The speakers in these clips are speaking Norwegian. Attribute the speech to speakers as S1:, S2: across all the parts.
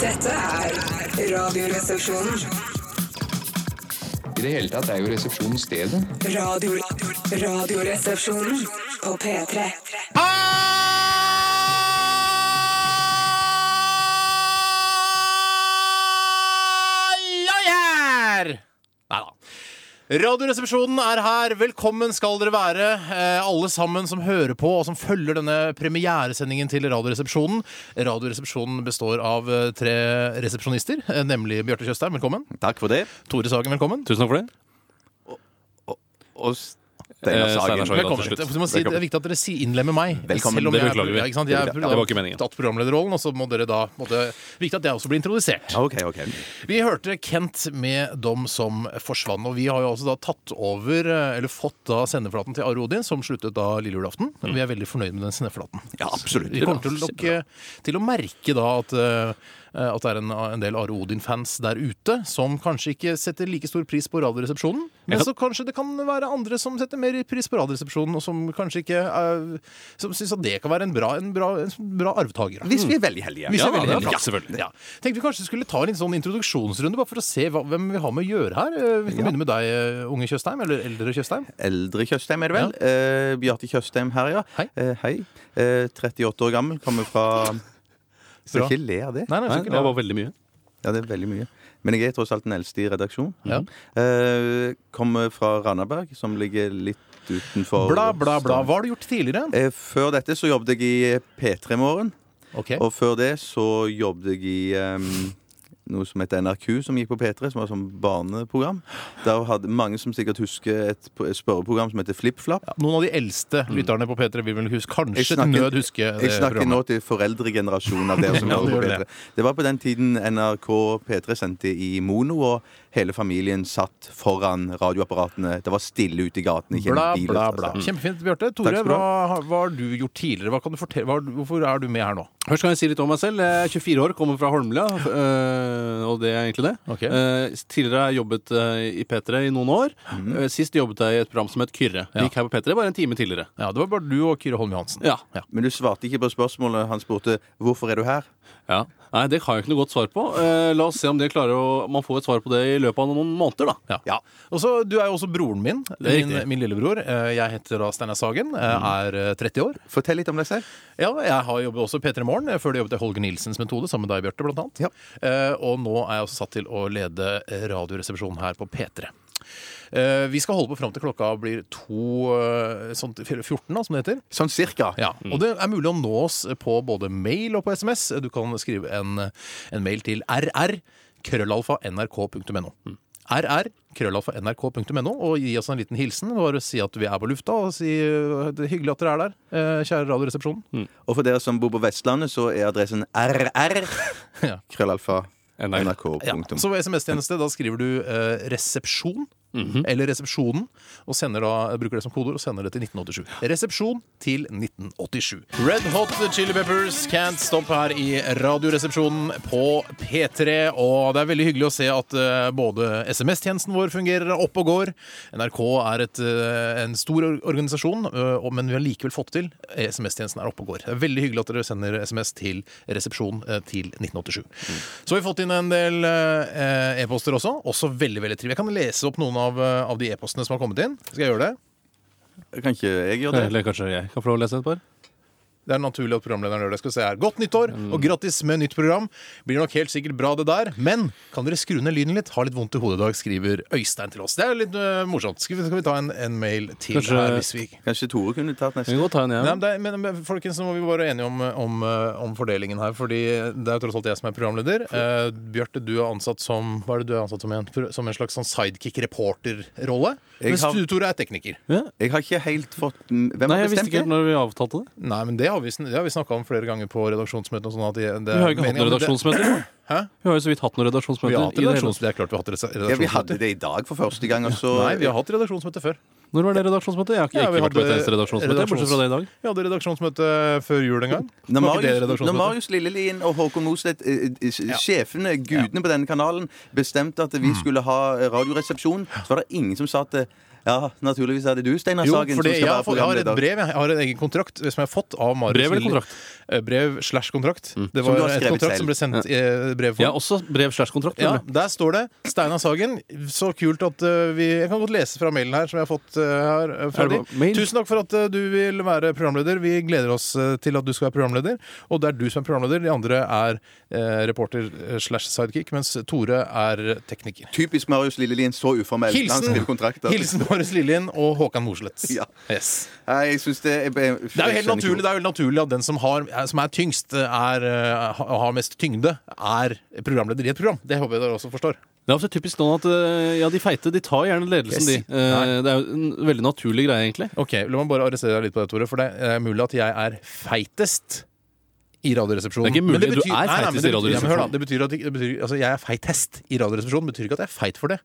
S1: Dette er Radioresepsjonen.
S2: I det hele tatt er jo resepsjonen stedet.
S1: Radio, radioresepsjonen på P3.
S3: Halloi her! Nei da. Radioresepsjonen er her. Velkommen skal dere være, eh, alle sammen som hører på og som følger denne premieresendingen til Radioresepsjonen. Radioresepsjonen består av eh, tre resepsjonister, eh, nemlig Bjarte Tjøstheim, velkommen.
S4: Takk for det.
S3: Tore Sagen, velkommen.
S5: Tusen takk for det.
S4: Og Steinar
S5: Eh, Steinar
S4: Sagen.
S5: Sagen.
S3: Velkommen.
S5: til slutt.
S3: Du må si, det er viktig at dere si, innlemmer meg.
S4: Velkommen.
S3: Selv om
S5: Det
S3: jeg er-
S5: beklager vi.
S3: Ja, ikke sant? Jeg er
S5: Det beklager vi. Ja, det var ikke meningen.
S3: tatt programlederrollen, og så må dere da på en måte, Viktig at jeg også blir introdusert.
S4: OK, OK.
S3: Vi hørte Kent med 'Dom som forsvant'. Og vi har jo altså da tatt over, eh, eller fått da sendeflaten til Are Odin, som sluttet da lille julaften.
S5: Mm.
S3: Vi er veldig fornøyd med den sendeflaten.
S4: Ja, absolutt.
S3: Vi kommer til, nok, eh, til å merke da at, eh, at det er en, en del Are Odin-fans der ute som kanskje ikke setter like stor pris på Radioresepsjonen. Men
S5: Jeg kan-
S3: så kanskje det kan være andre som setter mer pris på Radioresepsjonen, og som kanskje ikke eh, Som syns at det kan være en bra, en bra, en bra arvtaker.
S4: Hvis vi er veldig heldige.
S3: Hvis
S5: Ja,
S3: jeg vil
S5: det er
S3: hjelpe.
S5: klart, selvfølgelig.
S3: Ja. Tenkte vi kanskje skulle ta en liten sånn introduksjonsrunde, bare for å se hva, hvem vi har med å gjøre her. Eh, Vi kan begynne med deg, eh, unge Tjøstheim, eller eldre Tjøstheim.
S4: Eldre Tjøstheim, er det vel? Eh, Bjarte Tjøstheim her, ja.
S3: Hei.
S4: Eh, hei. Eh, 38 år gammel, kommer fra Skal
S3: Bra.
S4: ikke le av det.
S3: Nei, nei,
S5: Nei,
S3: jeg
S5: det
S3: tror
S5: var
S3: ikke det.
S5: veldig mye.
S4: Ja, det er veldig mye. Men jeg er tross alt den eldste i redaksjonen.
S3: Ja.
S4: Eh, kommer fra Randaberg, som ligger litt utenfor
S3: Bla, bla, bla. Hva har du gjort tidligere?
S4: Eh, Før dette så jobbet jeg i P3 Morgen.
S3: Ok.
S4: Og før det så jobbet jeg i ehm, noe som heter NRK, som gikk på P3, som var sånn barneprogram. Der hadde mange som sikkert husker et p- et spørreprogram som heter FlippFlapp.
S3: Noen av de eldste
S5: Mm.
S3: lytterne på P3 vil vel huske, kanskje
S4: Jeg
S3: til
S4: snakker-
S3: nød huske eh,
S4: Jeg snakker nå til foreldregenerasjonen av dere som
S3: Ja, du
S4: hører på
S3: gjør
S4: P3.
S3: det.
S4: Det var på den tiden NRK P3 sendte i mono, og hele familien satt foran radioapparatene. Det var stille ute i gatene. ikke en
S3: Bla,
S4: bil,
S3: bla,
S4: altså.
S3: bla.
S5: Mm.
S3: Kjempefint, Bjarte. Tore,
S4: skal du
S3: hva, har- hva har du gjort tidligere? Hva kan du fortelle? Hva, hvorfor er du med her nå?
S5: Først kan jeg si litt om meg selv. Jeg er 24 år, kommer fra Holmlia. øh, Og det er egentlig det.
S3: Ok.
S5: Eh, Tidligere har jeg jobbet øh, i P3 i noen år. Eh, Sist jobbet jeg i et program som het Kyrre.
S3: Ja.
S5: Gikk her på P3 bare en time tidligere.
S3: Ja, Det var bare du og Kyrre Holm Johansen.
S5: Ja.
S4: Men du svarte ikke på spørsmålet. Han spurte 'Hvorfor er du her?'
S5: ja. Nei, det har jeg ikke noe godt svar på. Eh, La oss se om det klarer å, man får et svar på det i løpet av noen måneder, da.
S3: Ja. Og så, Du er jo også broren min.
S5: Det er
S3: Min,
S5: riktig. Mm.
S3: min lillebror. Eh, Jeg heter da Steinar Sagen. eh, Er eh, 30 år.
S4: Fortell litt om deg selv.
S3: Ja, jeg har jobbet også i P3 Morgen. eh, Før det jobbet jeg i Holger Nilsens metode, sammen med deg, Bjarte, blant annet.
S4: Ja.
S3: Eh, og nå er jeg også satt til å lede eh, Radioresepsjonen her på P3. Eh, vi skal holde på fram til klokka blir to eh, sånn til 14, da, som det heter.
S4: Sånn cirka.
S3: Ja, og det er mulig å nå oss på både mail og på SMS. Eh, Du kan skrive en, en mail til rr krøllalfa nrk.no. RR, krøllalfa nrk.no, og gi oss en liten hilsen. Bare si at vi er på lufta, og si eh, det er hyggelig at dere er der, eh, kjære Radioresepsjonen.
S4: Og for dere som bor på Vestlandet, så er adressen rr.
S3: Ja.
S4: Krøllalfa.
S5: NRK.
S3: Ja.
S4: NRK.no.
S3: Så SMS-tjeneste, da skriver du eh, 'resepsjon' eller 'resepsjonen', og sender da, bruker det som kodeord og sender det til 1987. Resepsjon til 1987. Red Hot Chili Peppers Can't Stop her i Radioresepsjonen på P3. Og det er veldig hyggelig å se at eh, både SMS-tjenesten vår fungerer opp og går. NRK er et, eh, en stor or- organisasjon, eh, og- men vi har likevel fått til. E SMS-tjenesten er oppe og går. Det er veldig hyggelig at dere sender SMS til resepsjon eh, til 1987. Så har vi fått inn en del eh, e-poster også. Også veldig veldig trivelig. Jeg kan lese opp noen av, eh, av de e-postene som har kommet inn. Skal jeg gjøre det?
S4: Kan ikke jeg gjøre det?
S5: Eller kanskje jeg kan få lov å lese et par?
S3: Det er naturlig at programlederen gjør det. Skal vi se her. Godt nyttår og grattis med nytt program. Blir nok helt sikkert bra, det der. Men kan dere skru ned lyden litt? Har litt vondt i hodet i dag, skriver Øystein til oss. Det er litt øh, morsomt. Skal vi, skal vi ta en, en mail til
S5: Kanskje-
S3: her, hvis vi
S4: Kanskje Tore kunne tatt
S5: Jeg
S4: neste?
S5: kan godt ta en, jeg.
S3: Nei, men, det, er- men, men folkens, nå må vi være enige om, om, øh, om fordelingen her. Fordi det er jo tross alt jeg som er programleder. Eh, Bjarte, du er ansatt som Hva er det du er ansatt som igjen? For- Som en slags sånn sidekick-reporter-rolle?
S4: Jeg
S3: Mens
S4: har-
S3: du, Tore, er tekniker.
S4: Jeg har ikke helt fått Hvem
S5: Nei,
S4: har
S5: jeg visste
S4: bestemt
S5: ikke helt
S4: det?
S5: når vi avtalte det.
S3: Nei, men det har vi, sn- det har vi snakka om flere ganger på redaksjonsmøtene. og Sånn at det, det
S5: Vi
S3: er
S5: har jo ikke hatt
S3: meningen,
S5: noen
S3: men det-
S5: redaksjonsmøter.
S3: Hæ?
S5: Vi har jo så vidt hatt noen redaksjonsmøter.
S3: Vi har hatt
S5: i det hele
S3: redaksjonsmøte. Det er klart vi har hatt redaksjonsmøte.
S4: Ja, vi hadde det i dag for første gang, og så
S3: Nei, vi har hatt redaksjonsmøte før.
S5: tatt. Når var det redaksjonsmøtet? Jeg har ikke,
S3: Ja, vi
S5: ikke vært på et
S3: hadde
S5: eneste redaksjonsmøte, bortsett fra det i dag.
S3: Vi hadde redaksjonsmøte før jul en gang.
S4: Når
S3: Var ikke det
S4: Marius, når
S3: redaksjonsmøte?
S4: Marius Lillelien og Håkon Mosleth, eh, eh, sjefene,
S3: Mm.
S4: gudene på denne kanalen, bestemte at vi skulle ha eh, Radioresepsjon, så var det ingen som sa at eh, Ja, naturligvis er det du, Steinar
S3: Jo,
S4: Sagen,
S3: for det,
S4: som
S3: jeg,
S4: skal
S3: har
S4: være
S3: fått- jeg har et
S4: programleder.
S3: brev, jeg. jeg har en egen kontrakt eh, som jeg har fått av Marius
S5: Brev eller
S3: Lille.
S5: kontrakt?
S3: Eh, Brev slash kontrakt. Det
S4: Mm. Som
S3: var
S4: du har
S3: et
S4: skrevet
S3: kontrakt
S4: selv.
S3: som ble sendt i eh, brevform.
S5: Jeg har også brev slash kontrakt.
S3: Ja,
S5: nemlig.
S3: der står det. Steinar Sagen. Så kult at eh, vi Jeg kan godt lese fra mailen her som jeg har fått eh, her. eh, fra
S5: Er det
S3: de.
S5: bare mail?
S3: Tusen takk for at eh, du vil være programleder. Vi gleder oss eh, til at du skal være programleder. Og det er du som er programleder. De andre er eh, reporter eh, slash sidekick, mens Tore er tekniker.
S4: Typisk Marius Lillelien, så uformell. Han
S3: Hilsen,
S4: skriver kontrakter.
S3: hilsen Marius Lillien og Håkan Mosleth.
S4: Ja.
S3: Yes.
S4: Nei, jeg synes det er
S3: Det er jo helt naturlig, det er jo helt naturlig at den som, har, som er tyngst, er, eh, ha- har mest tyngde, er programleder i et program. Det håper jeg dere også forstår.
S5: Det er også typisk sånn at eh, ja, de feite de tar gjerne ledelsen,
S3: Yes.
S5: de. Eh, Det er jo en veldig naturlig greie, egentlig.
S3: Ok, La meg bare arrestere deg litt på det, Tore. For det er eh, mulig at jeg er feitest i Radioresepsjonen.
S5: Det er ikke mulig,
S3: Men
S5: du er
S3: nei, nei, men
S5: feitest
S3: det
S5: i
S3: betyr- ja, men Hør,
S5: Radioresepsjonen.
S3: da. Det betyr at det betyr, altså, jeg er feitest i Radioresepsjonen. Betyr ikke at jeg er feit for det.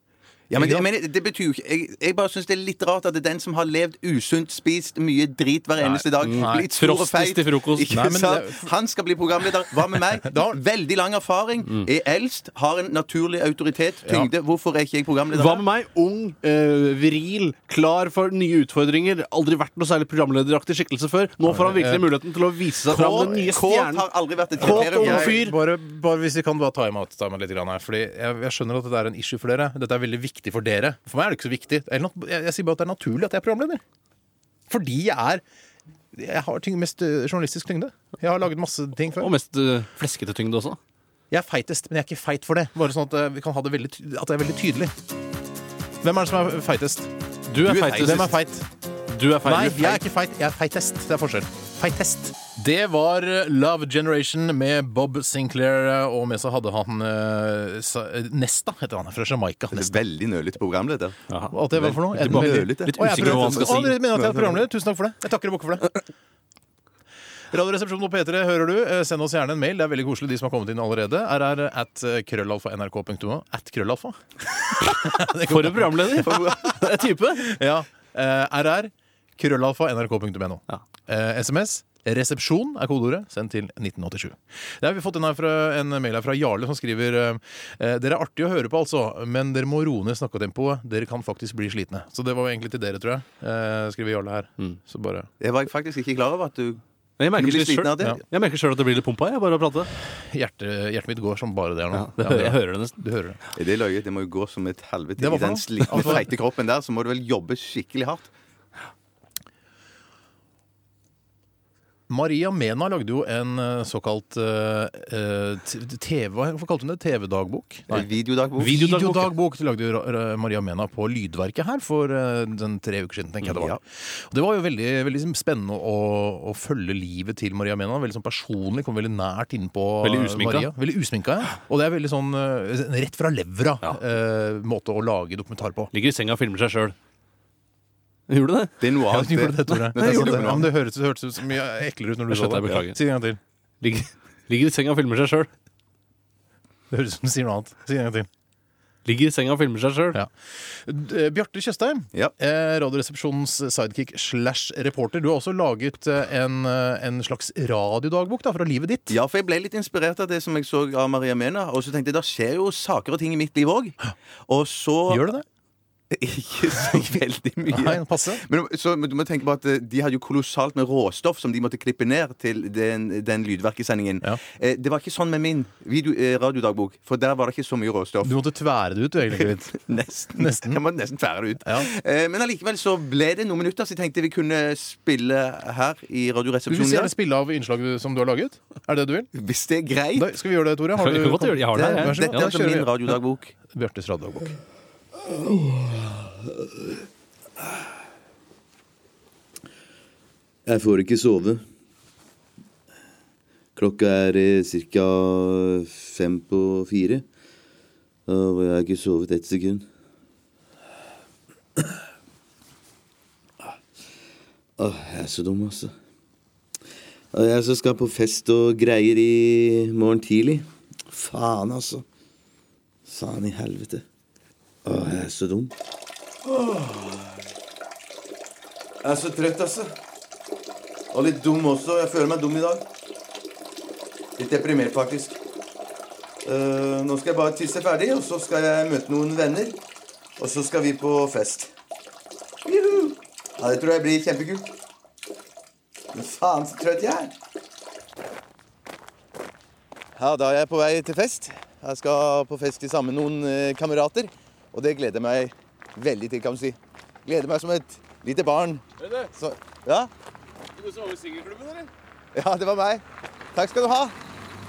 S4: Ja, men,
S3: Ikke sant?
S4: det, men det betyr jo ikke Jeg, jeg bare syns det er litt rart at det er den som har levd usunt, spist mye drit hver eneste dag,
S3: nei.
S4: blitt stor og
S5: Frostis
S4: feit
S5: til frokost.
S4: Ikke
S3: Nei, men det-
S4: sant? Han skal bli programleder. Hva med meg?
S3: Da-
S4: Veldig lang erfaring. Er eldst, har en naturlig autoritet, tyngde. Hvorfor er ikke jeg programleder?
S5: Hva med meg? Ung, eh, viril, klar for nye utfordringer. Aldri vært noe særlig programlederaktig skikkelse før. Nå får han virkelig muligheten til å vise seg fram. Den nye
S4: Kåt
S5: stjernen.
S4: har aldri vært et
S5: Kåt og
S4: kriterium. Jeg-
S5: fyr.
S3: Bare, bare hvis vi kan bare time out, time out litt grann her. Fordi jeg, jeg skjønner at dette er en issue for dere. Dette er veldig viktig for dere. For meg er det ikke så viktig. Det er nat- Jeg, jeg sier bare at det er naturlig at jeg er programleder. Fordi jeg er Jeg har tyng, mest øh, journalistisk tyngde. Jeg har laget masse ting før.
S5: Og mest eh, fleskete tyngde også.
S3: Jeg er feitest, men jeg er ikke feit for det. Bare sånn at øh, vi kan ha det veldig, ty- at det er veldig tydelig. Hvem er det som er feitest?
S5: Du er
S3: Hvem
S5: feitest.
S3: er feit?
S5: Du er feit.
S3: Nei,
S5: Du
S3: jeg
S5: er
S3: er
S5: feit.
S3: ikke feit. Jeg er feitest. Det er forskjell. Feitest. Det var eh, Love Generation med Bob Sinclair, og med seg hadde han eh, Sa- Nesta, heter han, fra Jamaica.
S4: Det er
S3: Nesta.
S4: veldig nølete program, dette.
S5: Jaha.
S3: Og At det var for noe?
S4: Litt
S3: En veldig-
S4: nølete.
S5: Litt eh,
S3: Å, jeg
S5: usikker på hva han
S3: prøvde-
S5: skal si.
S3: Å, dere mener at jeg er programleder? Tusen takk for det. Jeg takker og bukker for det. Radioresepsjonen på P3 hører du. Eh, Send oss gjerne en mail. Det er veldig koselig, de som har kommet inn allerede. RR at eh, krøllalfa nrk.no. At krøllalfa. Det går
S5: For en programleder! Det er type.
S3: Ja. Eh, RR, krøllalfa, nrk.no.
S5: Ja.
S3: Eh, SMS, resepsjon er kodeordet, sendt til 1987. Det har vi fått en, her fra, en mail her fra Jarle som skriver eh, Dere er artige å høre på, altså, men dere må roe ned snakketempoet. Dere kan faktisk bli slitne. Så det var jo egentlig til dere, tror jeg, eh, skriver Jarle her.
S5: Mm.
S3: Så bare
S4: Jeg var faktisk ikke klar over at du
S5: Jeg
S4: Du
S5: merker
S4: blir
S5: selv-
S4: sliten av det?
S5: Jeg merker sjøl at det blir litt pumpa. Jeg bare av å prate.
S3: Hjertet, hjertet mitt går som bare det her nå.
S5: Ja, det hører, jeg hører det nesten.
S3: Du hører det.
S4: Er det løye? Det må jo gå som et helvete.
S3: Det var
S4: I
S3: for
S4: den
S3: noe.
S4: slitne, feite kroppen der, så må du vel jobbe skikkelig hardt.
S3: Maria Mena lagde jo en eh, såkalt eh, eh, t- TV... Hvorfor kalte hun det? TV-dagbok?
S4: Videodagbok.
S5: Videodagbok, ja.
S3: Videodagbok lagde jo Ra- Ra- Maria Mena på Lydverket her for eh, den tre uker siden. tenker jeg Det var
S4: Ja.
S3: Og det var jo veldig, veldig liksom, spennende å, å følge livet til Maria Mena. Veldig sånn personlig, kom veldig nært innpå eh,
S5: Veldig usminka.
S3: Maria. Veldig usminka, ja. Og det er veldig sånn eh, rett fra levra
S5: Ja.
S3: eh, måte å lage dokumentar på.
S5: Ligger i senga og filmer seg sjøl. Gjorde det?
S4: Det er noe
S3: Ja,
S4: annet.
S3: du gjorde det, Tore.
S4: Nei, jeg gjorde
S3: Ja,
S4: det.
S3: men det hørtes, det hørtes ut så mye eklere ut når du sa
S5: Jeg skjønte,
S3: det.
S5: jeg beklager.
S3: Si det en gang til.
S5: Ligger, ligger i senga og filmer seg sjøl.
S3: Det høres ut som du sier noe annet. Si det en gang til.
S5: Ligger i senga og filmer seg sjøl.
S3: Ja. D- eh, Bjarte Tjøstheim,
S4: Ja.
S3: eh, Radioresepsjonens sidekick slash reporter. Du har også laget eh, en, eh, en slags radiodagbok da, fra livet ditt.
S4: Ja, for jeg ble litt inspirert av det som jeg så av Maria Mena. Og så tenkte jeg, da skjer jo saker og ting i mitt liv òg. Og så
S3: Gjør du det?
S4: Ikke så veldig mye.
S3: Nei, passe.
S4: Men så, men du må tenke på at eh, De hadde jo kolossalt med råstoff som de måtte klippe ned til den, den lydverkesendingen.
S3: Ja.
S4: Eh, det var ikke sånn med min video, eh, radiodagbok, for der var det ikke så mye råstoff.
S3: Du måtte tvære det ut, du, egentlig. litt.
S4: Nesten.
S3: Nesten.
S4: Jeg måtte nesten fære det ut.
S3: Ja.
S4: Eh, men allikevel så ble det noen minutter, så jeg tenkte vi kunne spille her i
S3: Du vil
S4: Radioresepsjonen. i
S3: gjerne
S4: dag.
S3: spille av innslag som du har laget? Er det det du vil?
S4: Hvis det er greit.
S3: Da skal vi gjøre det, Tore? Har
S5: Jeg kan godt gjøre det. Jeg har det her, jeg.
S3: Vær så god.
S4: Dette
S3: Da
S4: er altså
S3: kjører
S4: min
S3: vi
S4: radiodagbok.
S3: Bjartes radiodagbok.
S6: Jeg får ikke sove. Klokka er ca. fem på fire. Og jeg har ikke sovet ett sekund. Åh, Ah, jeg er så dum, altså. Og Jeg som skal på fest og greier i morgen tidlig. Faen, altså. Faen i helvete. Åh, jeg er så dum.
S4: Jeg er så trøtt, altså. Og litt dum også. Jeg føler meg dum i dag. Litt deprimert, faktisk. Eh, nå skal jeg bare tisse ferdig, og så skal jeg møte noen venner. Og så skal vi på fest.
S6: Ja, det tror jeg blir kjempekult. Men faen så trøtt jeg er. Ja, da er jeg på vei til fest. Jeg skal på fest sammen med noen eh, kamerater. Og det gleder jeg meg veldig til, kan du si. Gleder meg som et lite barn. Så, ja? Ja, det var meg. Takk skal du ha.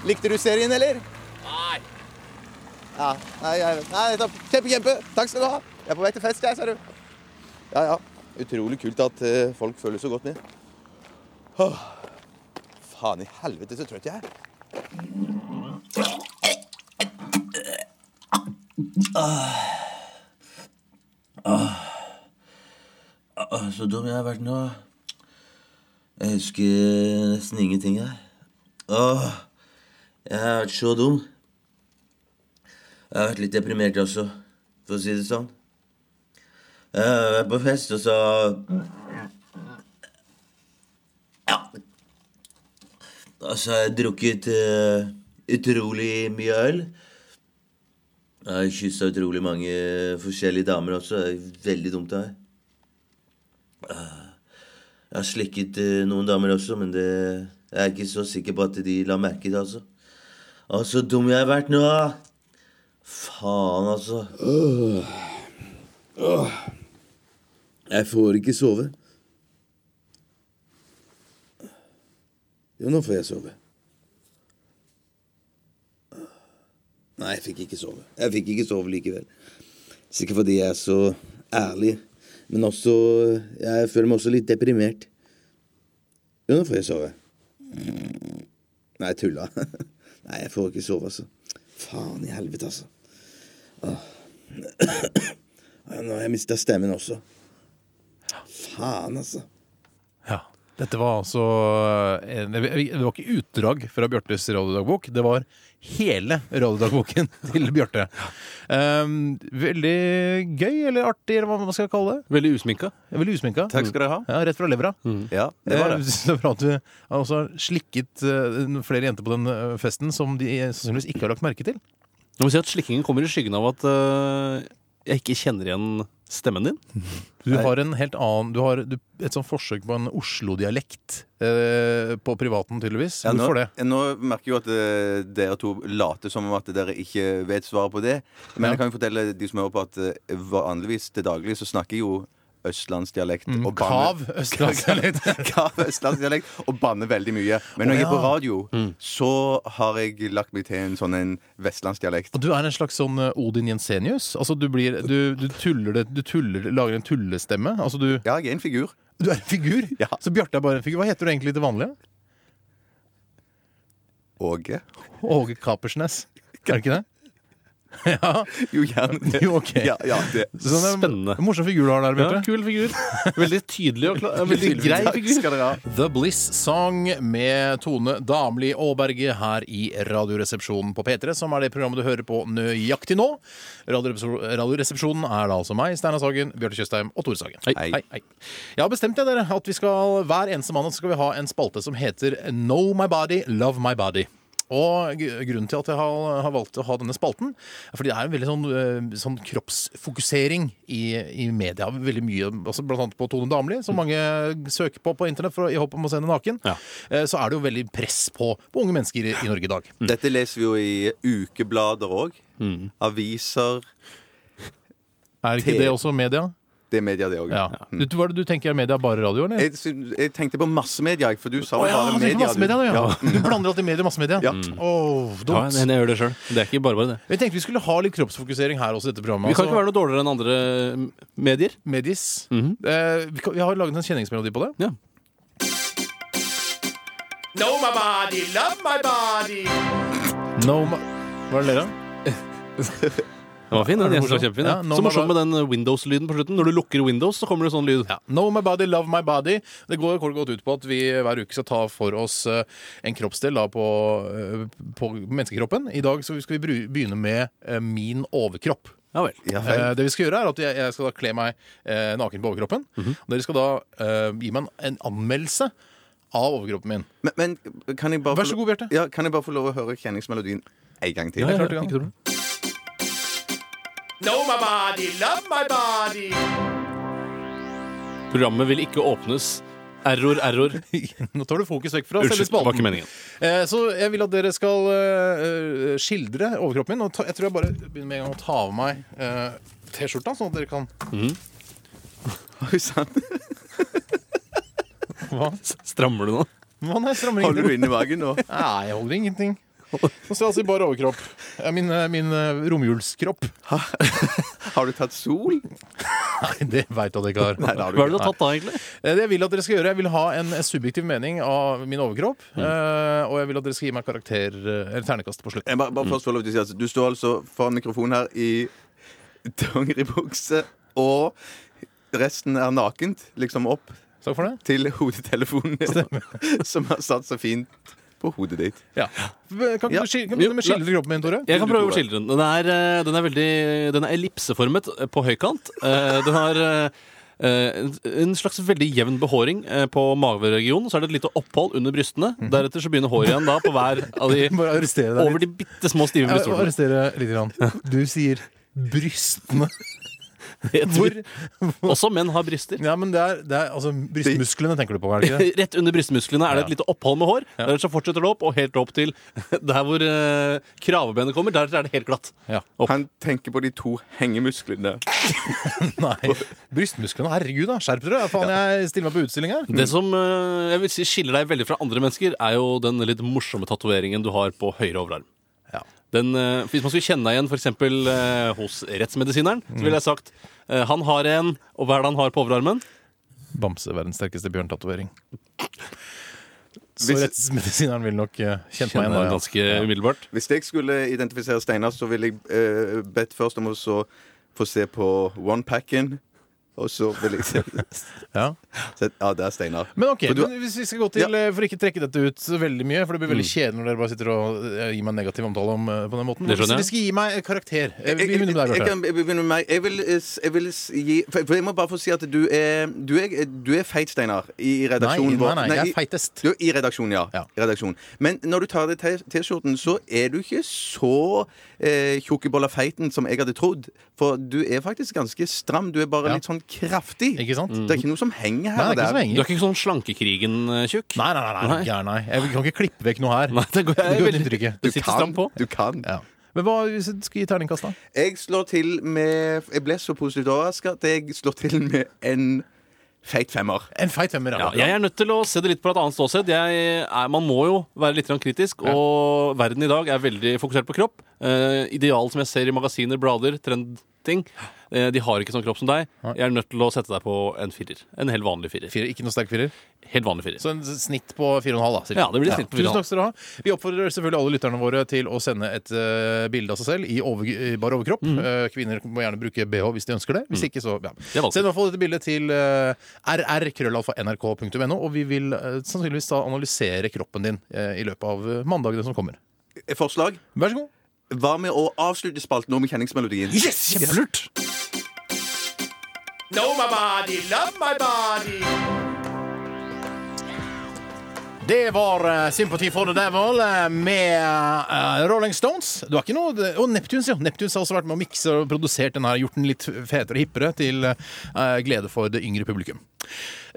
S6: Likte du serien, eller? Ja, nei, jeg, nei, nettopp. Kjempe, kjempe. Takk skal du ha. Jeg er på vei til fest, jeg, ser du. Ja, ja. Utrolig kult at eh, folk føler så godt med. Åh. Faen i helvete, så trøtt jeg er.
S7: Så dum jeg har vært nå. Jeg husker nesten ingenting, jeg. Åh, jeg har vært så dum. Jeg har vært litt deprimert også, for å si det sånn. Jeg har vært på fest, og så Ja. Og så har jeg drukket eh, utrolig mye øl. Jeg har kyssa utrolig mange forskjellige damer også. Det er veldig dumt av meg. Jeg har slikket eh, noen damer også, men det, jeg er ikke så sikker på at de la merke til det, altså. Å, så dum jeg har vært nå! Faen, altså.
S6: Jeg får ikke sove. Jo, nå får jeg sove. Nei, jeg fikk ikke sove. Jeg fikk ikke sove likevel. Sikkert fordi jeg er så ærlig. Men også Jeg føler meg også litt deprimert. Jo, nå får jeg sove. Nei, jeg tulla. Nei, jeg får ikke sove, altså. Faen i helvete, altså. Åh. Nå har jeg mista stemmen også. Faen, altså.
S3: Ja. Dette var altså en, Det var ikke utdrag fra Bjørtes radiodagbok, det var hele radiodagboken til Bjarte. Um, veldig gøy, eller artig, eller hva man skal kalle det.
S5: Veldig usminka.
S3: Veldig usminka.
S4: Takk skal dere ha. Mm.
S3: Ja, rett fra levra. Eh,
S4: Ja, det var det.
S3: Så bra at du har også slikket eh, flere jenter på den eh, festen som de sannsynligvis ikke har lagt merke til.
S5: Du må si at Slikkingen kommer i skyggen av at øh, jeg ikke kjenner igjen stemmen din.
S3: Du har en helt annen Du har du, et sånt forsøk på en Oslo-dialekt eh, på privaten, tydeligvis.
S4: Ja, nå,
S3: Hvorfor det?
S4: nå merker jeg jo at eh, dere to later som om at dere ikke vet svaret på det. Men jeg kan jo fortelle de som hører på, at eh, vanligvis til daglig så snakker jeg jo østlandsdialekt. og banner-
S3: Mm. Kav eh, østlandsdialekt.
S4: Kav østlandsdialekt og banner veldig mye. Men når jeg er på radio,
S3: Mm.
S4: så har jeg lagt meg til en sånn en vestlandsdialekt.
S3: Og du er en slags sånn eh, Odin Jensenius? Altså du blir Du, du tuller det Du tuller, lager en tullestemme? Altså du
S4: Ja, jeg er en figur.
S3: Du er en figur?
S4: Ja.
S3: Så Bjarte er bare en figur. Hva heter du egentlig til vanlig?
S4: Åge.
S3: Åge Kapersnes. Er det ikke det? Ja.
S4: Jo, gjerne.
S3: Jo, ok.
S4: Ja, ja, det.
S3: Så sånn er en
S5: Spennende.
S3: Morsom figur du har der, Bjarte.
S5: kul figur. Veldig tydelig og klar. Veldig
S4: Veldig
S5: grei
S4: takk
S5: figur.
S4: skal dere ha.
S3: The Bliss Song med Tone Damli Aaberge her i Radioresepsjonen på P3, som er det programmet du hører på nøyaktig nå. Radioresepsjon- Radioresepsjonen er da altså meg, Steinar Sagen, Bjarte Tjøstheim og Tore Sagen.
S4: Hei.
S3: Jeg har bestemt jeg, dere, at vi skal, hver eneste mandag skal vi ha en spalte som heter Know My Body, Love My Body. Og gr- grunnen til at jeg har, har valgt å ha denne spalten, er fordi det er en veldig sånn, eh, sånn kroppsfokusering i, i media. Veldig mye, altså Blant annet på Tone Damli, som mange søker på på internett for, å- i håp om å se henne naken.
S5: Ja.
S3: Eh, Så er det jo veldig press på, på unge mennesker i, i Norge i dag.
S4: Dette leser vi jo i ukeblader òg.
S3: Mm.
S4: Aviser.
S3: Er ikke det også media?
S4: Det er media, det òg.
S3: Ja. Du, hva er det du tenker er media? Bare radio, eller?
S4: Jeg, syn- jeg tenkte på massemedia, jeg, for du sa jo
S3: Å ja,
S4: bare
S3: du tenker
S4: media. du.
S3: massemedia, du, ja.
S4: Ja.
S3: Du blander alltid media og massemedia.
S4: Ja.
S3: Åh,
S5: Ja,
S3: dumt.
S5: jeg gjør det sjøl. Det er ikke bare bare det.
S3: Vi tenkte vi skulle ha litt kroppsfokusering her også i dette programmet.
S5: Vi kan
S3: altså.
S5: ikke være Mhm. noe dårligere enn andre medier.
S3: Medis. eh, vi, kan, vi har laget en kjenningsmelodi på det.
S5: Ja.
S3: Know my body, love my body. No my Hva er det dere av?
S5: Den var fin. den.
S3: det
S5: Jeg synes den var
S3: morsom?
S5: kjempefin ja.
S3: Ja, nå
S5: Så
S3: må
S5: morsom med den Windows-lyden på slutten. Når du lukker Windows, så kommer det sånn lyd.
S3: Know my body, love my body. Det går kort og godt ut på at vi hver uke skal ta for oss eh, en kroppsdel da, på, eh, på menneskekroppen. I dag så skal vi bru- begynne med eh, min overkropp.
S5: Ja vel.
S4: Ja, vel.
S3: Eh, det vi skal gjøre er at jeg, jeg skal da kle meg eh, naken på overkroppen.
S5: Mhm.
S3: Og dere skal da eh, gi meg en, en anmeldelse av overkroppen min.
S4: Men, men kan jeg bare
S3: Vær
S4: få
S3: så
S4: lov-
S3: god, Bjarte.
S4: Ja, kan jeg bare få lov å høre kjenningsmelodien en gang til?
S3: klart du kan.
S5: Ikke problem.
S3: Know my body, love my body.
S5: Du Programmet vil ikke åpnes. Error, error.
S3: Nå tar du fokus vekk fra selve
S5: Unnskyld, det
S3: spalten.
S5: var ikke meningen.
S3: Eh, Så jeg vil at dere skal eh, eh, skildre overkroppen min. Og ta, jeg tror jeg bare begynner med en gang å ta av meg eh, T-skjorta, sånn at dere kan
S4: Oi, sant.
S3: Hva?
S5: Strammer du nå?
S3: Hva nei, strammer
S4: Holder
S3: ingenting.
S4: du inn i magen nå?
S3: Nei, jeg holder ingenting. Nå står jeg altså i bar overkropp. Eh, Min, eh, min eh, romjulskropp.
S4: Har du tatt sol?
S3: Nei, det veit jeg at jeg ikke har.
S4: Nei, det har du
S5: Hva er det du
S4: ikke.
S5: har tatt da, egentlig?
S3: Eh, Det jeg vil at dere skal gjøre, jeg vil ha en eh, subjektiv mening av min overkropp.
S4: Mm.
S3: eh, Og jeg vil at dere skal gi meg karakter eh, eller ternekast på slutten.
S4: Jeg bare, bare først får lov til å si at Du står altså foran mikrofonen her i dongeribukse, og resten er nakent, liksom opp
S3: Takk for det.
S4: til hodetelefonen, som har satt så fint på hodet ditt.
S3: Ja. Kan ikke
S4: Ja.
S3: du skil- kan du begynne med å skildre kroppen min, Tore?
S5: Jeg kan
S4: Du,
S5: prøve å
S4: Tore.
S5: skildre den. Den er, eh, den er, veldig, den er ellipseformet eh, på høykant. Eh, Den har eh, eh, en- en slags veldig jevn behåring eh, på mageregionen. Så er det et lite opphold under brystene. Deretter så begynner håret igjen da på hver av de
S3: Bare arrestere deg litt.
S5: over de bitte små stive
S3: Jeg vil
S5: brystvortene.
S3: arrestere litt. Grann. Du sier brystene.
S5: Jeg tror-
S3: Hvor?
S5: Også menn har bryster.
S3: Ja, men det er, det er altså brystmusklene tenker du på, er det ikke det?
S5: Rett under brystmusklene er det et lite opphold med hår. Deretter så fortsetter det opp, og helt opp til der hvor eh, kravebenet kommer. Deretter er det helt glatt.
S3: Ja.
S5: Opp.
S4: Han tenker på de to hengemusklene.
S3: Nei. Brystmusklene, herregud da, skjerp dere! Faen, jeg stiller meg på utstilling her.
S5: Det som eh, jeg vil si skiller deg veldig fra andre mennesker, er jo den litt morsomme tatoveringen du har på høyre overarm.
S3: Ja.
S5: Den, eh, hvis man skulle kjenne deg igjen for eksempel, eh, hos rettsmedisineren, så
S3: Mm.
S5: ville jeg sagt eh, han har en, og hva er det han har på overarmen?
S3: Bamse, verdens sterkeste bjørntatovering. Så
S4: Hvis-
S3: rettsmedisineren vil nok eh, kjent meg
S5: Kjenner
S3: igjen da.
S5: deg
S3: Ja.
S5: ganske umiddelbart.
S4: Hvis jeg skulle identifisere Steinar, så ville jeg eh, bedt først om å så få se på onepacken. Og så vil jeg se
S3: Ja.
S4: se- Ja, det er Steinar.
S3: Men ok,
S4: For du-
S3: men hvis vi skal gå til, eh, for ikke trekke dette ut så veldig mye, for det blir veldig kjedelig når dere bare sitter og eh, gir meg en negativ omtale om, eh, på den måten.
S5: Det
S3: Hvis
S5: skjønner jeg.
S3: dere skal gi meg en karakter eh,
S4: jeg,
S3: vi begynner med deg,
S4: jeg,
S3: Bjarte.
S4: kan begynne med meg. Jeg vil, eh, s- jeg vil s- gi for- For jeg må bare få si at du er Du er, du er feit, Steinar, i i
S3: Nei,
S4: redaksjonen
S3: nei,
S4: vår.
S3: nei, jeg er
S4: i-
S3: feitest.
S4: Du, I redaksjonen, ja.
S3: Ja.
S4: I redaksjonen. Men når du tar av deg te- T-skjorten, så er du ikke så eh, tjukkebolla-feiten som jeg hadde trodd. For du er faktisk ganske stram. Du er bare
S3: Ja.
S4: litt sånn kraftig.
S3: Ikke sant?
S4: Det er ikke noe som henger her
S3: Mm. Nei, det
S4: og
S3: er ikke så
S4: der.
S3: lenge.
S5: Du er ikke sånn slankekrigen-tjukk?
S3: Nei, nei, nei, nei.
S5: Nei.
S3: Gæren, nei. Jeg kan ikke klippe vekk noe her.
S5: Nei, det går
S3: Det
S5: jeg
S3: går
S5: veldig
S3: ikke.
S5: Det sitter stramt på.
S4: Du kan.
S3: Ja. Men hva hvis du skal gi terningkast, da?
S4: Jeg slår til med Jeg ble så positivt overraska at jeg slår til med en feit femmer.
S3: En feit femmer.
S5: Ja, jeg er nødt til å se det litt fra et annet ståsted. Jeg er, man må jo være litt grann kritisk, og verden i dag er veldig fokusert på kropp. Eh, ideal som jeg ser i magasiner, blader, trendting. Eh, de har ikke sånn kropp som deg. Jeg er nødt til å sette deg på en firer. En helt vanlig firer.
S3: Fire, ikke noe sterk firer.
S5: Helt vanlig firer.
S3: Så en snitt på fire og en halv, da. cirka.
S5: Ja, det blir snitt på fire og
S3: Tusen
S5: en halv.
S3: takk skal dere ha. Vi oppfordrer selvfølgelig alle lytterne våre til å sende et eh, bilde av seg selv i over, i bar overkropp.
S5: Mhm.
S3: Eh, kvinner må gjerne bruke bh hvis de ønsker det. Hvis ikke, så ja.
S5: er valgfritt.
S3: Send i hvert fall dette bildet til uh, rr.krøllalfa.nrk.no, og vi vil eh, sannsynligvis da analysere kroppen din eh, i løpet av eh, mandagene som kommer.
S4: Forslag?
S3: Vær så god.
S4: Hva med å avslutte spalten nå med kjenningsmelodien?
S3: Yes! Kjempelurt! Know my body, love my body. Det var eh, Sympathy for the Devil eh, med eh, Rolling Stones. Du har ikke noe, det- Og Neptunes, ja. Neptunes har også vært med å mikse og produsert den her, gjort den litt fetere og hippere til eh, glede for det yngre publikum.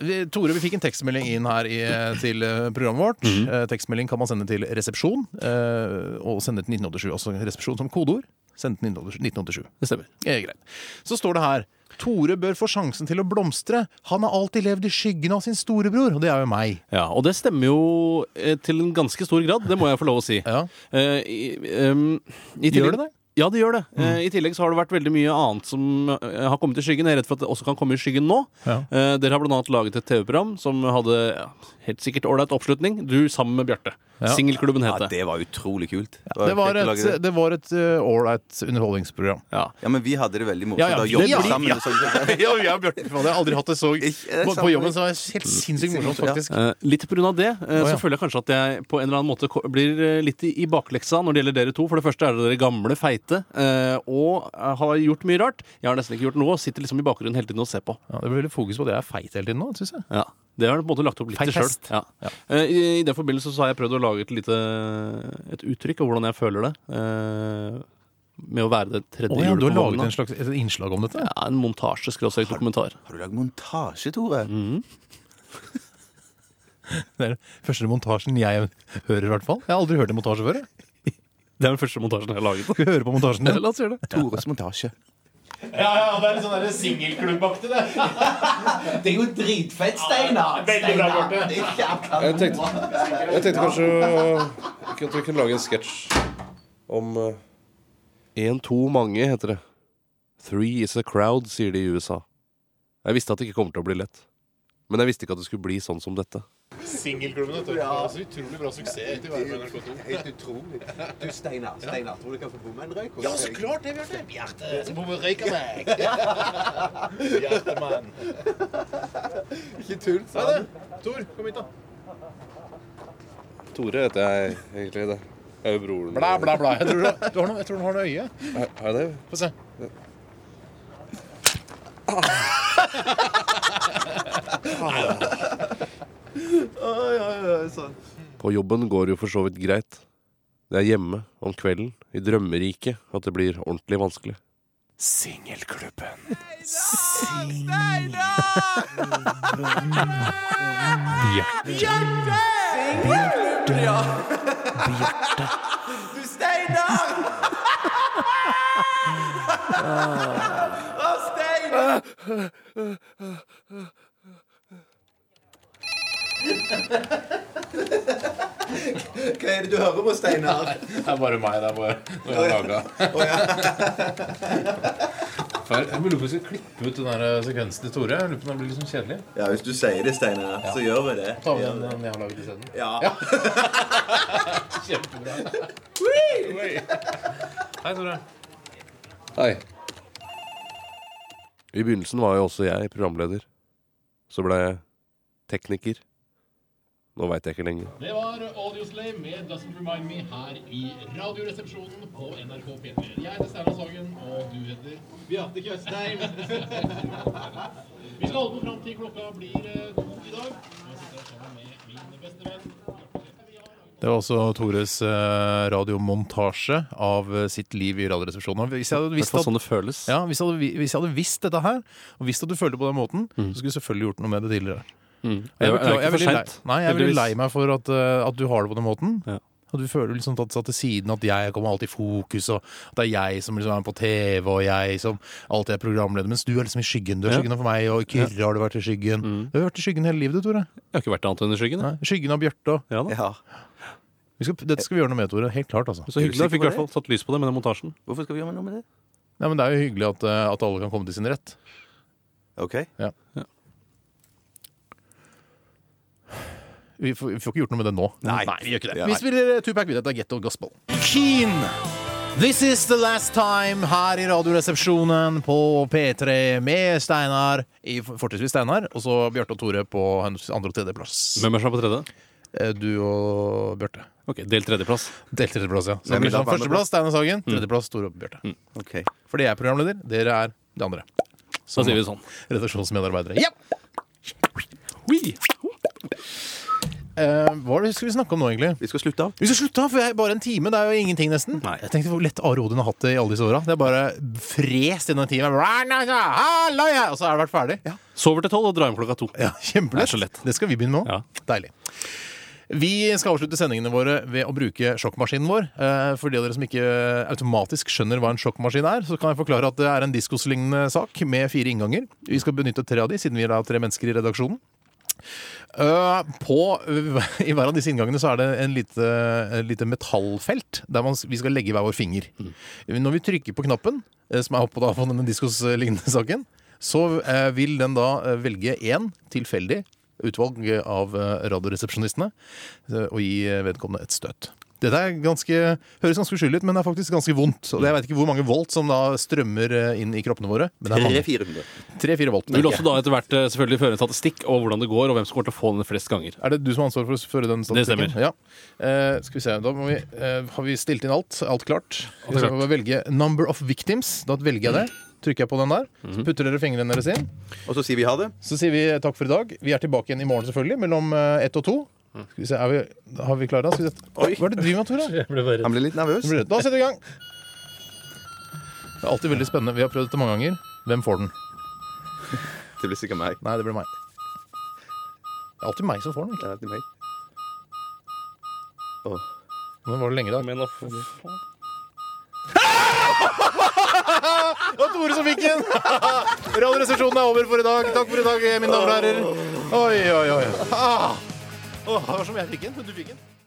S3: Vi- Tore, vi fikk en tekstmelding inn her i, til eh, programmet vårt. Eh, Tekstmelding kan man sende til resepsjon, eh, og sende til 1987, altså resepsjon som kodeord. Send til 1987.
S5: Det stemmer.
S3: Ja, greit. Så står det her Tore bør få sjansen til å blomstre. Han har alltid levd i skyggen av sin storebror, og det er jo meg.
S5: Ja, Og det stemmer jo eh, til en ganske stor grad, det må jeg få lov å si.
S3: Ja.
S5: Eh, i, em, i
S3: Gjør
S5: tillegg-
S3: det det? Mm.
S5: Ja, det gjør det. Eh, I tillegg så har det vært veldig mye annet som eh, har kommet i skyggen. Jeg er redd for at det også kan komme i skyggen nå.
S3: Ja.
S5: Eh, dere har blant annet laget et TV-program som hadde ja, helt sikkert ålreit oppslutning. Du sammen med Bjarte. Singelklubben het
S4: Ja,
S5: det.
S4: det var utrolig kult.
S3: Det var
S4: kjekt å
S3: et,
S4: lage det.
S3: det var et uh, ålreit underholdningsprogram.
S5: Ja.
S4: Ja, men vi hadde det veldig morsomt.
S3: Ja, ja,
S4: da
S3: vi-
S4: jobbet
S3: ja,
S4: sammen.
S3: ja.
S4: så-
S3: Ja, jeg og Bjarte hadde aldri hatt det så
S4: Ikke- det er
S3: På,
S4: sant.
S3: på jobben så var det helt sinnssykt morsomt, faktisk.
S5: Eh, litt pga. det, eh,
S3: Å, ja.
S5: så føler jeg kanskje at jeg på en eller annen måte ko- blir eh, litt i, i bakleksa når det gjelder dere to. For det første er dere gamle, feite, eh, og eh, har gjort mye rart. Jeg har nesten ikke gjort noe, sitter liksom i bakgrunnen hele tiden og ser på.
S3: Ja, det blir veldig fokus på at jeg er feit hele tiden nå, syns jeg.
S5: Ja. Det har du på en måte lagt opp litt til sjøl.
S3: Feitest.
S5: Ja. Eh, I, I den forbindelse så har jeg prøvd å lage et lite et uttrykk av hvordan jeg føler det. Eh, med å være det tredje
S3: Å ja,
S5: hjulet
S3: du
S5: på
S3: har laget
S5: vogna.
S3: en slags et innslag om dette?
S5: Ja, en montasje, skråstrek dokumentar.
S4: Har du lagd montasje, Tore?
S3: Mm. Det er den første montasjen jeg hører, i hvert fall. Jeg har aldri hørt en montasje før. jeg.
S5: Det er den første montasjen jeg har laget.
S3: Skal vi høre på montasjen din?
S5: La oss gjøre det.
S4: Tores montasje.
S8: Ja, ja, det er litt sånn singelklubbaktig, det.
S9: Det er jo dritfett, Steinar!
S8: Veldig bra, Bjarte.
S9: Det er jævla
S10: Jeg tenkte, jeg tenkte kanskje øh, ikke at vi kunne lage en sketsj om øh,
S5: Én, to, mange, heter det. Three is a crowd, sier de i USA. Jeg visste at det ikke kommer til å bli lett. Men jeg visste ikke at det skulle bli sånn som dette.
S8: Singelklubben, vet du. Ja. Så utrolig bra suksess etter å være på NRK2.
S9: Helt utrolig. Du, Steinar, Steinar, tror du kan få bomme en røyk? Ja, så
S8: klart det, Bjarte. Bjarte. Så må vi røyke meg. Bjartemann.
S9: Ikke tull, sant?
S8: Tor, kom hit, da.
S10: Tore, heter jeg egentlig. det Jeg er jo broren
S3: Bla, bla, bla. Jeg tror du, du har noe, jeg tror du har noe øye.
S10: Er- er det?
S3: Få se.
S10: Ah.
S5: På jobben går det jo for så vidt greit. Det er hjemme, om kvelden, i drømmeriket, at det blir ordentlig vanskelig.
S3: Singelklubben.
S9: Du, Steinar! Å, Steinar! Hva er det du hører på, Steinar?
S8: Det er bare meg der hvor jeg har laga. Jeg lurer på om vi skal klippe ut den der sekvensen til Tore. Jeg lurer på om den blir litt sånn kjedelig.
S9: Ja, Hvis du sier det, Steinar, så gjør vi det.
S8: Ta med den, den jeg har laget isteden.
S9: Ja.
S8: Kjempebra. Hei, Tore.
S10: Hei.
S5: I begynnelsen var jo også jeg programleder. Så ble jeg tekniker. Nå veit jeg ikke lenger.
S8: Det var Audioslave med 'Doesn't Remind Me' her i Radioresepsjonen på NRK P3. Jeg heter Steinar Sagen, og du heter Beate Tjøstheim. Vi skal holde på fram til klokka blir eh, to i dag. Jeg sitter her sammen med min beste venn.
S3: Det var også Tores eh, radiomontasje av eh, sitt liv i Radioresepsjonen. Og Hvis jeg hadde
S5: I hvert
S3: visst
S5: fall
S3: at
S5: sånn det føles.
S3: ja, hvis, jeg hadde, vi- hvis jeg hadde visst dette her, og visst at du følte på den måten, så skulle jeg selvfølgelig gjort noe med det tidligere. Jeg,
S5: Det er- det er
S3: beklager, jeg, er
S5: ikke for
S3: veldig lei,
S5: sent,
S3: nei, jeg er veldig
S5: heldigvis.
S3: lei meg for at, eh, at du har det på den måten.
S5: Ja.
S3: Og du føler liksom tatt satt til siden at jeg kommer alltid i fokus, og at det er jeg som liksom er på TV, og jeg som alltid er programleder, mens du er liksom i skyggen. Du er
S5: Ja. Mm.
S3: skyggen av meg, og i Kyrre har du vært i skyggen. Du har vært i skyggen hele livet, du, Tore.
S5: Jeg har ikke vært annet enn i skyggen.
S3: Nei,
S5: jeg.
S3: skyggen av Bjarte. og-
S5: Ja, da.
S4: Ja.
S3: Vi skal- Dette skal vi gjøre noe med, Tore. Helt klart, altså.
S5: Så hyggelig. Jeg fikk i hvert fall satt lys på det med den montasjen.
S4: Hvorfor skal vi gjøre noe med det?
S3: Nei, men det er jo hyggelig at, eh, at alle kan komme til sin rett.
S4: OK.
S3: Vi får, vi får ikke gjort noe med det nå.
S4: Nei.
S3: vi gjør ikke det.
S4: Ja,
S3: Vi spiller eh, Tupac Videre, det er Getto Gospel. Keen! This is the last time her i Radioresepsjonen på P3 med Steinar, i fortrinnsvis Steinar, og så Bjarte og Tore på henholdsvis andre og tredjeplass.
S5: Hvem er som er på tredje?
S3: Eh, Du og Bjarte.
S5: Ok, Del tredjeplass.
S3: Delt tredjeplass, ja. Så
S4: Hvem
S3: det blir sånn
S4: vil da på andreplass?
S3: førsteplass Steinar Sagen, tredjeplass Tore og Bjarte.
S4: ok.
S3: Fordi jeg er programleder, dere er de andre.
S5: Så sier vi sånn.
S3: Redaksjonsmedarbeidere. Ja! Eh, hva er det skal vi snakke om nå, egentlig?
S4: Vi skal slutte av.
S3: Vi skal slutte, for jeg, bare en time. Det er jo ingenting, nesten.
S5: Nei.
S3: Jeg tenkte hvor lett Are Odin har hatt det i alle disse åra. Det er bare frest gjennom en time. Halleluja! Og så har det vært ferdig. Ja.
S5: Sover til tolv og drar hjem klokka to.
S3: Kjempelett.
S5: Det er så lett.
S3: Det skal vi begynne med òg.
S5: Ja.
S3: Deilig. Vi skal avslutte sendingene våre ved å bruke sjokkmaskinen vår. Eh, For de av dere som ikke eh, automatisk skjønner hva en sjokkmaskin er, så kan jeg forklare at det er en diskoslignende sak med fire innganger. Vi skal benytte tre av de, siden vi er da tre mennesker i redaksjonen. Eh, på, I hver av disse inngangene så er det en lite, en lite metallfelt der man, vi skal legge hver vår finger. Når vi trykker på knappen, eh, som er oppå da på denne diskos-lignende saken, så eh, vil den da eh, velge én tilfeldig utvalg av eh, radioresepsjonistene eh, og gi eh, vedkommende et støt. Dette er ganske, høres ganske uskyldig ut, men det er faktisk ganske vondt. Og jeg vet ikke hvor mange volt som da strømmer eh, inn i kroppene våre. Men det er mange.
S4: 300-400.
S3: Tre-fire volt.
S5: Vi vil også da etter hvert eh, selvfølgelig føre en statistikk over hvordan det går, og hvem som kommer til å få den flest ganger.
S3: Er det du som har ansvar for å føre den statistikken?
S5: Det stemmer.
S3: Ja. Eh, skal vi se, da må vi, eh, Har vi stilt inn alt? Alt klart?
S5: Alt er klart.
S3: Så må vi velge 'number of victims'. Da velger jeg det. Trykker jeg på den der.
S5: Mhm.
S3: Så putter dere fingrene deres inn.
S4: Og så sier vi ha det.
S3: Så sier vi takk for i dag. Vi er tilbake igjen i morgen selvfølgelig, mellom eh, ett og to.
S5: Mhm.
S3: Skal vi se, er vi, Har vi klare? Skal vi se. Hva er det du driver med, Tore?
S4: Han ble litt nervøs.
S3: Da setter vi i gang. Det er alltid veldig spennende. Vi har prøvd dette mange ganger. Hvem får den?
S4: Det blir sikkert meg.
S3: Nei, det blir meg. Det er alltid meg som får den.
S4: Det
S3: Ikke?
S4: er alltid meg. Åh.
S3: Men var det lenge i dag?
S5: Men da f-
S3: Det var Tore som fikk den! Radioresepsjonen er over for i dag. Takk for i dag, mine damer og herrer. Oi, oi, oi. Ah. Åh, det var som jeg fikk den. Du fikk den.